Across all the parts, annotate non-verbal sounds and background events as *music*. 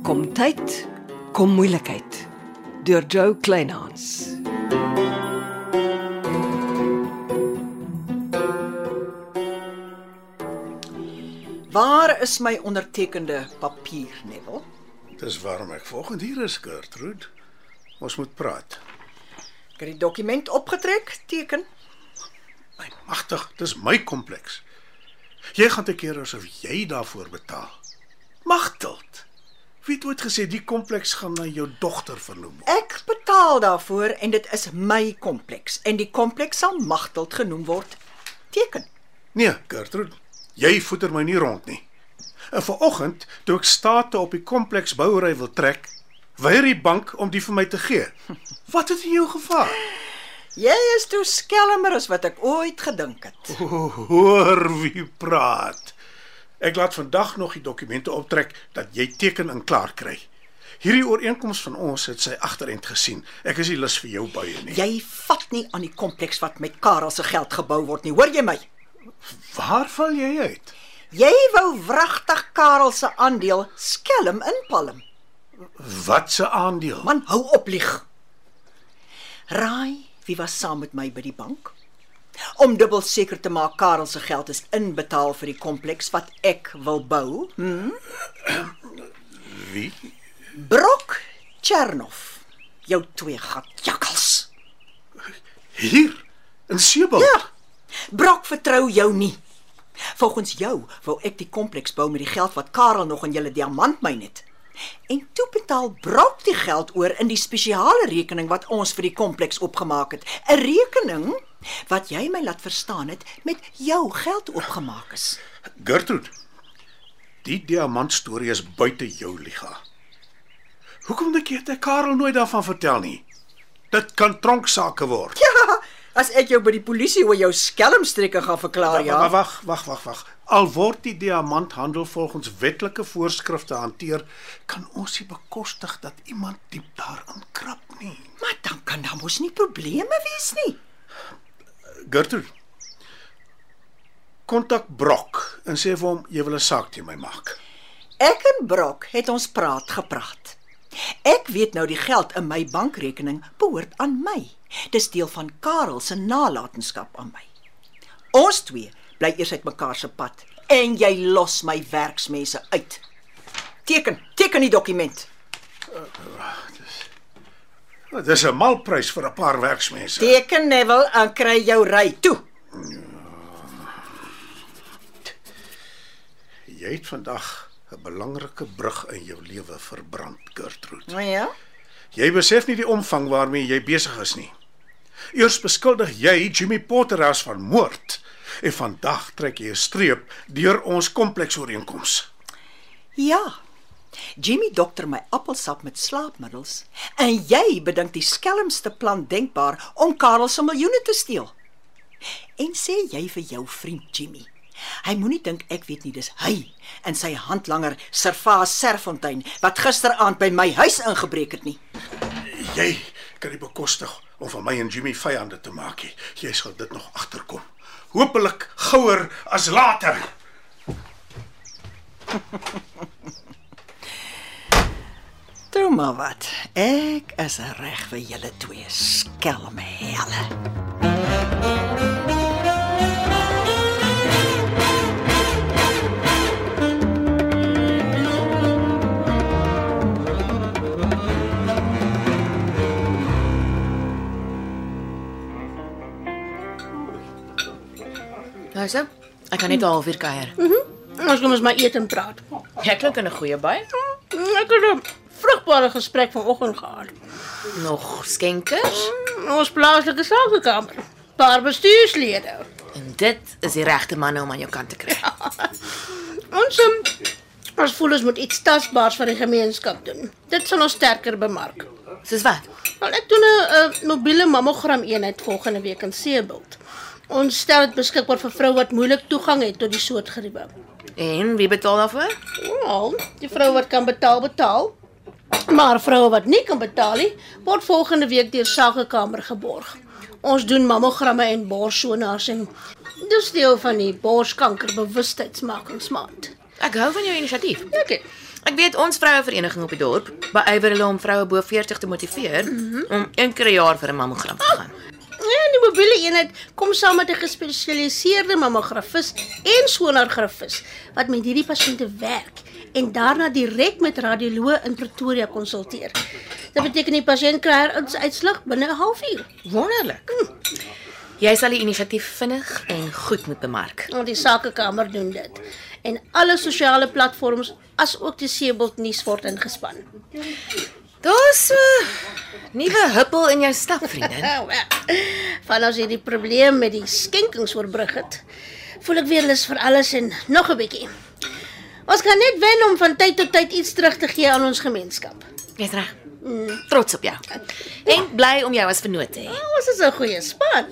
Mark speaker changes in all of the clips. Speaker 1: Gesondheid kom moeilikheid deur Jo Kleinhans.
Speaker 2: Waar is my ondertekende papier, Neville?
Speaker 3: Dis waarom ek volgende hier is, Gertrude. Ons moet praat.
Speaker 2: Ek het die dokument opgetrek, teken.
Speaker 3: My magtig, dis my kompleks. Jy gaan te keer asof jy daarvoor betaal. Magteld. Wie het ooit gesê die kompleks gaan na jou dogter vernoem word?
Speaker 2: Ek betaal daarvoor en dit is my kompleks en die kompleks sal magteld genoem word. Teken.
Speaker 3: Nee, Gertrude, jy voeter my nie rond nie. En vanoggend, toe ek state op die kompleks bouery wil trek, weier die bank om die vir my te gee. Wat het in jou gevaar?
Speaker 2: Jy is toe skelmer as wat ek ooit gedink het.
Speaker 3: Hoor wie praat. Ek laat vandag nog die dokumente optrek dat jy teken en klaar kry. Hierdie ooreenkoms van ons het sy agterend gesien. Ek is nie lus vir jou buie nie.
Speaker 2: Jy vat nie aan die kompleks wat met Karel se geld gebou word nie, hoor jy my?
Speaker 3: Waar val jy uit?
Speaker 2: Jy wou wragtig Karel se aandeel skelm inpalm.
Speaker 3: Wat se aandeel?
Speaker 2: Man, hou op lieg. Raai, wie was saam met my by die bank? Om dubbel seker te maak Karel se geld is inbetaal vir die kompleks wat ek wil bou. Hm?
Speaker 3: Wie?
Speaker 2: Brok Chernoff. Jou twee gatjakkels.
Speaker 3: Hier in Sebel.
Speaker 2: Ja. Brok vertrou jou nie. Volgens jou wou ek die kompleks bou met die geld wat Karel nog in julle diamantmyn het. En toe betaal Brok die geld oor in die spesiale rekening wat ons vir die kompleks opgemaak het. 'n Rekening wat jy my laat verstaan het met jou geld opgemaak is.
Speaker 3: Gertrude. Die diamant storie is buite jou liga. Hoekom dink jy het ek Karel nooit daarvan vertel nie? Dit kan tronksaake word.
Speaker 2: Ja, as ek jou by die polisie oor jou skelmstrikke gaan verklaar,
Speaker 3: Ja,
Speaker 2: ja.
Speaker 3: Wa- wa- Wag, wag, wag, wag. Al word die diamanthandel volgens wetlike voorskrifte hanteer, kan ons nie bekostig dat iemand diep daarin krap nie.
Speaker 2: Maar dan kan daar mos nie probleme wees nie.
Speaker 3: Gertrude. Kontak Brok en sê vir hom jy wil 'n saak teen my maak.
Speaker 2: Ek en Brok het ons praat gepraat. Ek weet nou die geld in my bankrekening behoort aan my. Dis deel van Karel se nalatenskap aan my. Ons twee bly eers uit mekaar se pad en jy los my werksmense uit. Teken, teken die dokument.
Speaker 3: Dit is Nou, 'n malprys vir 'n paar werksmense.
Speaker 2: Teken Neville en kry jou ry toe.
Speaker 3: Jy het vandag 'n belangrike brug in jou lewe verbrand, Gertrude.
Speaker 2: Nou ja.
Speaker 3: Jy besef nie die omvang waarmee jy besig is nie. Eers beskuldig jy Jimmy Potter as van moord en vandag trek jy 'n streep deur ons kompleksooreenkoms.
Speaker 2: Ja. Jimmy dokter my appelsap met slaapmiddels en jy bedink die skelmste plan denkbaar om Karel se miljoene te steel. En sê jy vir jou vriend Jimmy, hy moenie dink ek weet nie dis hy en sy handlanger Servaas Serfontein wat gisteraand by my huis ingebreek het nie.
Speaker 3: Jy kan nie bekostig om van my en Jimmy vyande te maak nie. Jy sal dit nog agterkom. Hoopelik gouer as later.
Speaker 2: Toe maar wat, ek is reg vir julle twee skelm helle.
Speaker 4: Nou so, ek kan net 'n halfuur kuier.
Speaker 5: Ons kom ons maar eet en praat.
Speaker 4: Jy klink in 'n goeie by.
Speaker 5: Ek het 'n vrugbare gesprek vanoggend gehad.
Speaker 4: Nog skenkers?
Speaker 5: In Ons plaaslike sakekamer. Paar bestuurslede.
Speaker 4: En dit is die regte manne om aan jou kant te kry.
Speaker 5: Ons um, ons voel ons moet iets tasbaars vir die gemeenskap doen. Dit sal ons sterker bemark.
Speaker 4: Soos wat?
Speaker 5: Wel ek doen 'n uh, mobiele mammogram eenheid volgende week in Seebult. Ons stel dit beskikbaar vir vroue wat moeilik toegang het tot die soort geriewe.
Speaker 4: En wie betaal daarvoor?
Speaker 5: Wel, die vrou wat kan betaal, betaal. Maar vroue wat nie kan betaal nie, word volgende week deur Sagekamer geborg. Ons doen mammogramme en borssonaars en dis deel van die borskankerbewustheidsmakingsmaand. Ja,
Speaker 4: Ek hou van jou inisiatief.
Speaker 5: Okay.
Speaker 4: Ek weet ons vrouevereniging op die dorp beywer hulle om vroue bo 40 te motiveer om een keer 'n jaar vir 'n mammogram te gaan.
Speaker 5: Ja, En die mobiele eenheid kom saam met 'n gespesialiseerde mammografis en sonargrafis wat met hierdie pasiënte werk en daarna direk met radioloë in Pretoria konsulteer. Dit beteken die pasiënt kry haar uits- uitslag binne 'n halfuur.
Speaker 4: Wonderlik. Jy sal die inisiatief vinnig en goed moet bemark.
Speaker 5: Want die sakekamer doen dit. En alle sosiale platforms asook die Seebald nuus word ingespan.
Speaker 4: Daar's 'n nuwe huppel in jou stap, vriendin.
Speaker 5: Nou, wel, van ons hierdie probleem met die skenkings oorbrug het, voel ek weer lus vir alles en nog 'n bietjie. Ons kan net wen om van tyd tot tyd iets terug te gee aan ons gemeenskap.
Speaker 4: Jy's reg. Trots op jou. En bly om jou as vernoot te hê.
Speaker 5: Nou, ons is 'n goeie span.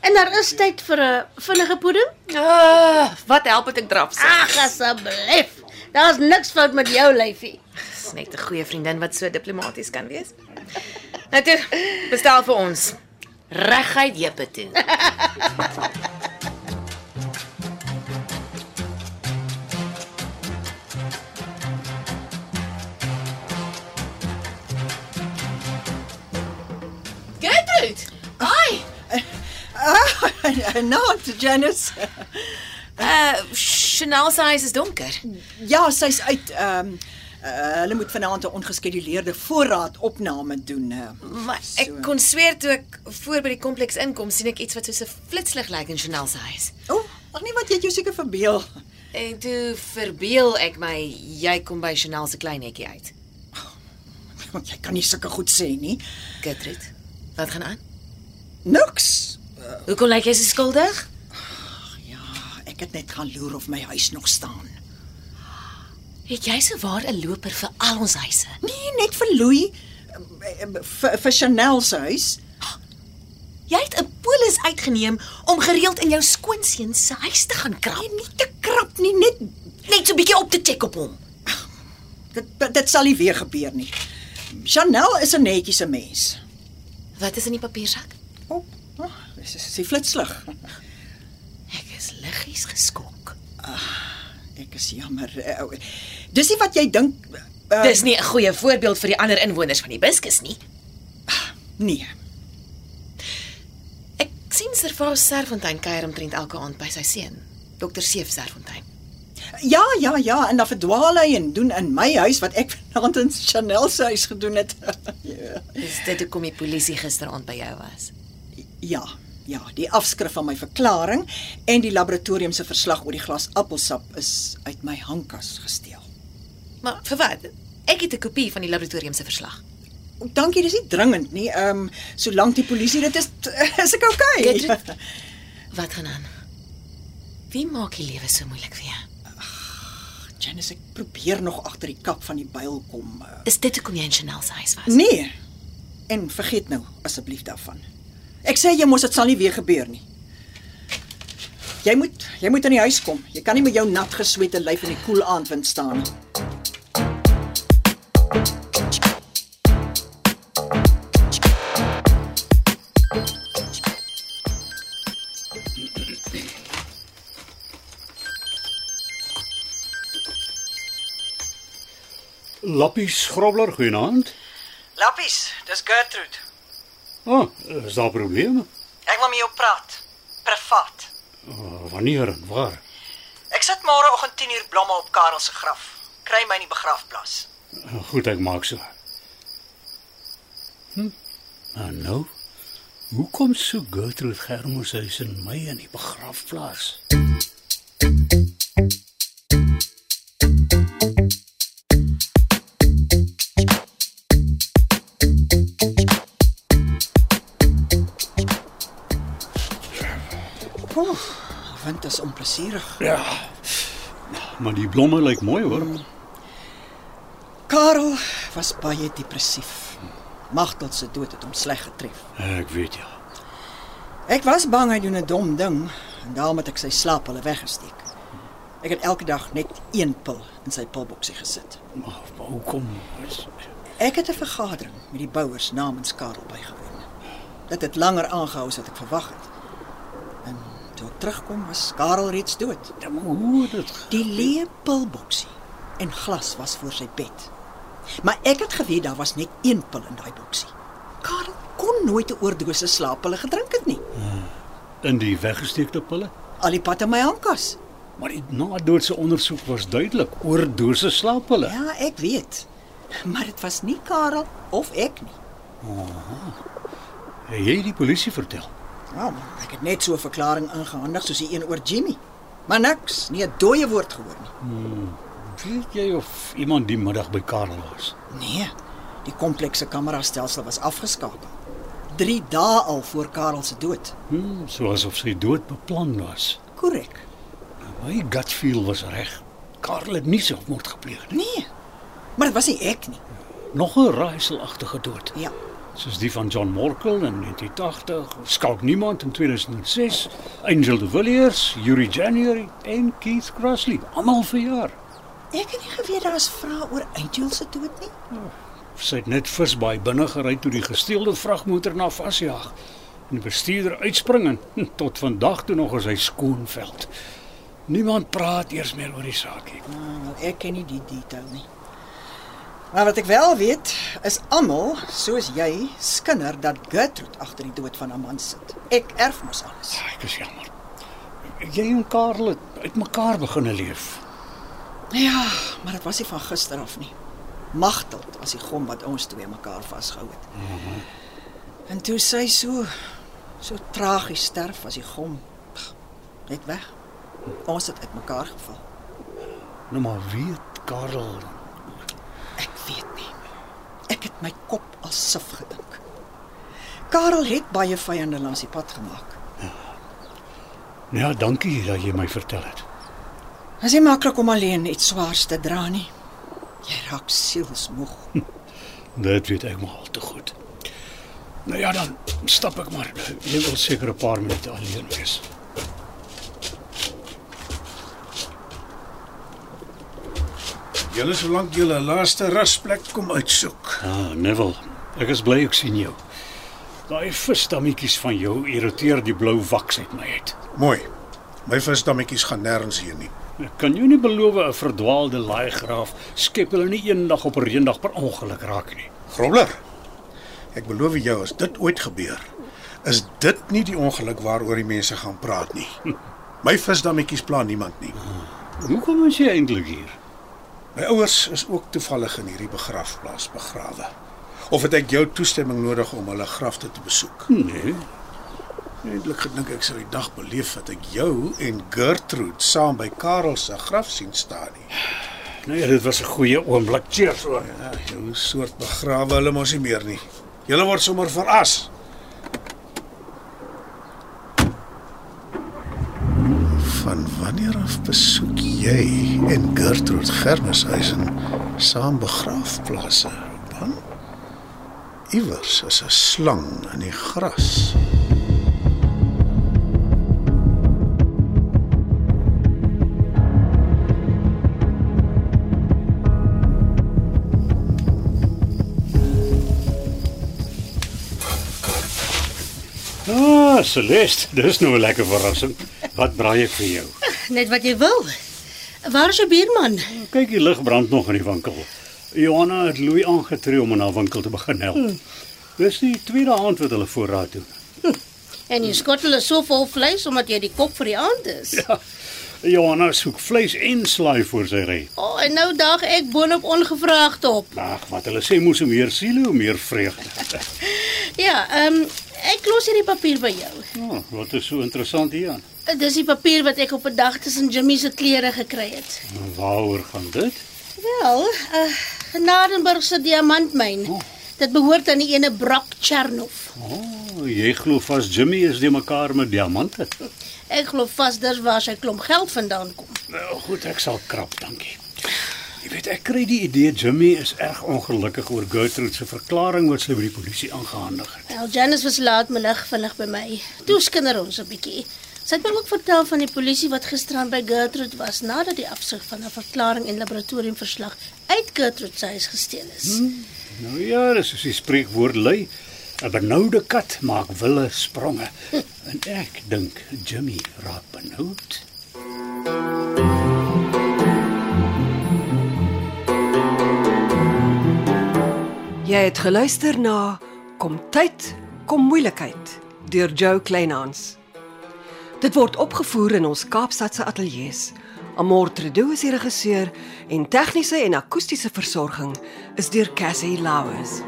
Speaker 5: En daar is tyd vir 'n vinnige poeding.
Speaker 4: Ah, wat help dit ek draf se?
Speaker 5: Ag asseblief. Daar's niks fout met jou lyfie.
Speaker 4: Dis net 'n goeie vriendin wat so diplomaties kan wees. Nou toe, bestel vir ons. Reguit Jeppe toe. Gertrude, ai.
Speaker 2: Ah, *laughs* Naat Janice.
Speaker 4: Uh, Chanel se huis is donker.
Speaker 2: Ja, sy's uit ehm eh, hulle moet vanaand 'n ongeskeduleerde voorraadopname doen. eh.
Speaker 4: Maar ek
Speaker 2: So.
Speaker 4: kon sweer toe ek voor by die kompleks inkom, sien ek iets wat soos 'n flitslig lyk in Chanel se huis.
Speaker 2: O, ag nee, wat jy het jou seker verbeel. *laughs*
Speaker 4: En toe verbeel ek my jy kom by Chanel se klein hekkie uit.
Speaker 2: Want jy kan nie sulke goed sê nie.
Speaker 4: Gertrude, wat gaan aan?
Speaker 2: Niks.
Speaker 4: Hoekom lyk jy so skuldig?
Speaker 2: Ja, Ek het net gaan loer of my huis nog staan.
Speaker 4: Het jy sowaar 'n loper vir al ons huise?
Speaker 2: Nee, net vir Louis eh, eh, vir, vir Chanel se huis.
Speaker 4: Jy het 'n polis uitgeneem om gereeld in jou skoonseun se huis te gaan krap.
Speaker 2: Nee, nie te krap nie, net
Speaker 4: Net so 'n bietjie op te check op hom.
Speaker 2: dit dit sal nie weer gebeur nie. Chanel is 'n netjiese mens.
Speaker 4: Wat is in die papiersak?
Speaker 2: O, oh, dis is sy flitslig.
Speaker 4: Ek is liggies geskok.
Speaker 2: Ek is jammer. eh, ou. Dis nie wat jy dink eh,
Speaker 4: Dis nie 'n goeie voorbeeld vir die ander inwoners van die Biskus nie.
Speaker 2: nee.
Speaker 4: Ek sien Servaas Serfontein kuier omtrent elke aand by sy seun, Dr. Seef Serfontein.
Speaker 2: Ja, ja, ja, en dan verdwaal hy en doen in my huis wat ek *laughs* vanaand in Chanel se huis gedoen het. *laughs* ja.
Speaker 4: Dis dit hoekom die polisie gisteraand by jou was.
Speaker 2: ja, ja, die afskrif van my verklaring en die laboratorium se verslag oor die glas appelsap is uit my hangkas gesteel.
Speaker 4: Maar vir wat? Ek het 'n kopie van die laboratorium se verslag.
Speaker 2: O, Dankie, dis nie dringend nie. Ehm um, solank die polisie dit is *laughs* is ek okay.
Speaker 4: Gertrude? Wat gaan aan? Wie maak die lewe so moeilik vir jou?
Speaker 2: *laughs* Janice, ek probeer nog agter die kap van die byl kom. eh.
Speaker 4: Is dit hoekom jy in Chanel se huis was?
Speaker 2: Nee. En vergeet nou asseblief daarvan. Ek sê jy mos dit sal nie weer gebeur nie. Jy moet jy moet aan die huis kom. Jy kan nie met jou nat geswete lyf in die koel aandwind staan nie.
Speaker 6: Lappies Grobler, goeienaand.
Speaker 2: Lappies, dis Gertrude.
Speaker 6: Ah, is daar probleme?
Speaker 2: Ek wil met jou praat. Privaat.
Speaker 6: Uh, wanneer en waar?
Speaker 2: Ek sit môreoggend 10uur blomme op Karel se graf. Kry my in die begrafplaas.
Speaker 6: Uh, goed, ek maak so. Hm? Nou, nou. Hoe kom so Gertrude Germos huis in my in die begrafplaas?
Speaker 2: Oef, Ah, wind is onplesierig.
Speaker 6: Ja. Maar die blomme lyk mooi hoor.
Speaker 2: Karel was baie depressief. Magdal se dood het hom sleg getref.
Speaker 6: Ek weet ja.
Speaker 2: Ek was bang hy doen 'n dom ding en daarom het ek sy slaappille weggesteek. Ek het elke dag net een pil in sy pilboksie gesit.
Speaker 6: Maar maar hoekom? Is-
Speaker 2: Ek het 'n vergadering met die bouers namens Karel bygewoon. Dit het langer aangehou as wat ek verwag het. En toe ek terugkom was Karel reeds dood.
Speaker 6: Ja, maar hoe het dit? ge-
Speaker 2: Die leë pilboksie en glas was voor sy bed. Maar ek het geweet daar was net een pil in daai boksie. Karel kon nooit 'n oordosis slaappille gedrink het nie.
Speaker 6: in die weggesteekte pille.
Speaker 2: Al die pad in my handkas.
Speaker 6: Maar die nadoodse ondersoek was duidelik oor dose slaappille.
Speaker 2: Ja, ek weet. Maar dit was nie Karel of ek nie.
Speaker 6: Het jy die polisie vertel?
Speaker 2: Ja, man, ek het net so 'n verklaring ingehandig soos die een oor Jimmy. Maar niks, nie 'n dooie woord gehoor nie.
Speaker 6: Weet jy of iemand die middag by Karel was?
Speaker 2: Nee, die komplekse kamerastelsel was afgeskakel. 3 dae al voor Karel se dood.
Speaker 6: Hm, soos of sy dood beplan was.
Speaker 2: Korrek.
Speaker 6: My gut feel was reg. Karel het nie selfmoord gepleeg nie.
Speaker 2: Nee. Maar dit was nie ek nie.
Speaker 6: Nog 'n raaiselagtige dood.
Speaker 2: Ja.
Speaker 6: Soos die van John Morkel in 1980, Skalk Niemand in 2006, Angel de Villiers, Yuri January en Keith Crossley, almal verjaar.
Speaker 2: Ek het nie geweet daar's vrae oor Angel se dood nie.
Speaker 6: Sy het net visbaai binne gery toe die gesteelde vragmotor na vasjaag. En die bestuurder uitspring en *laughs* tot vandag toe nog as hy skoonveld. Niemand praat eers meer oor die saak nie.
Speaker 2: Nou, ek ken nie die detail nie. Maar wat ek wel weet, is almal, soos jy, skinder dat Gertrude agter die dood van haar man sit. Ek erf mos alles.
Speaker 6: Ai, dis jammer. Jy en Karel het uitmekaar begine leef.
Speaker 2: Ja, maar dit was nie van gister af nie. Magteld as die gom wat ons twee mekaar vasgehou het. Mhm. En toe sy so so tragies sterf as die gom. pff, Net weg. Ons het uitmekaar geval.
Speaker 6: Nou maar weet Karel,
Speaker 2: Ek weet nie. Ek het my kop al sif gedink. Karel het baie vyande langs die pad gemaak.
Speaker 6: ja, dankie dat jy my vertel het.
Speaker 2: Dit is nie maklik om alleen iets swaars te dra nie. Jy raak sielsmoeg.
Speaker 6: Dit weet ek maar al te goed. Nou ja, dan stap ek maar. Jy wil seker 'n paar minute alleen wees.
Speaker 3: Julle solank julle laaste rusplek kom uitsoek.
Speaker 6: Ah, Neville, ek is bly ek sien jou. Daai visstammetjies van jou irriteer die blou waks uit my uit.
Speaker 3: Mooi. My visdammetjies gaan nêrens heen nie.
Speaker 6: Ek kan jou nie beloof 'n verdwaalde laaigraaf skep hulle nie eendag op 'n reendag per ongeluk raak nie.
Speaker 3: Grobler. Ek beloof jou as dit ooit gebeur, is dit nie die ongeluk waaroor die mense gaan praat nie. My visdammetjies pla niemand nie.
Speaker 6: Hoekom is jy eintlik hier?
Speaker 3: My ouers is ook toevallig in hierdie begrafplaas begrawe. Of het ek jou toestemming nodig om hulle grafte te besoek?
Speaker 6: Nee,
Speaker 3: Eintlik gedink ek sou die dag beleef wat ek jou en Gertrude saam by Karel se graf sien staan nie.
Speaker 6: nee, dit was 'n goeie oomblik. Cheers hoor.
Speaker 3: Ja, jou soort begrawe hulle mos nie meer nie. Julle word sommer veras. Van wanneer af besoek jy en Gertrude Germishuisen saam begraafplase? Man, iewers is 'n slang in die gras.
Speaker 6: Ah, Celeste, dis nou 'n lekker verrassing. Wat braai ek vir jou?
Speaker 5: Net wat jy wil. Waar is jou buurman?
Speaker 6: Kyk, die lig brand nog in die winkel. Johanna het Louis aangetree om in haar winkel te begin help. Dis die tweede aand wat hulle voorraad doen.
Speaker 5: En jy skottel is so vol vleis omdat jy die kok vir die aand is. Ja.
Speaker 6: Johanna soek vleis en slaai voor sy ry.
Speaker 5: O, oh, en nou dag ek boonop ongevraagd op.
Speaker 6: Ag, wat hulle sê moes hoe meer siele, hoe meer vreugde. *laughs*
Speaker 5: Ja, ehm um, ek los hierdie papier by jou. Eh,
Speaker 6: Ja, Oh, wat is so interessant hieraan?
Speaker 5: Dis die papier wat ek op 'n dag tussen Jimmy se klere gekry het.
Speaker 6: Waaroor gaan dit?
Speaker 5: Wel, uh, Genadenburg se diamantmyn. Dit behoort aan die ene Brock Chernoff.
Speaker 6: O, oh, jy glo vas Jimmy is die mekaar met diamante.
Speaker 5: Ek glo vas dis waar sy klomp geld vandaan kom.
Speaker 6: Nou goed, ek sal krap, dankie. Jy weet ek kry die idee Jimmy is erg ongelukkig oor Gertrude se verklaring wat sy by die polisie aangehandig het.
Speaker 5: Wel, Janice was laatmiddag vinnig by my. Toe skinder ons 'n bietjie. Sy het my ook vertel van die polisie wat gisteraan by Gertrude was nadat die afsig van haar verklaring en laboratoriumverslag uit Gertrude se huis gesteel is.
Speaker 6: Nou ja, dis soos die spreekwoord lui. 'n Benoude kat maak wille spronge. En ek dink Jimmy raak benoud.
Speaker 1: Jy het geluister na Kom tyd, kom moeilikheid deur Jo Kleinhans. Dit word opgevoer in ons Kaapstadse ateljee se. Amortredo is die regisseur en tegniese en akoestiese versorging is deur Cassie Lauers.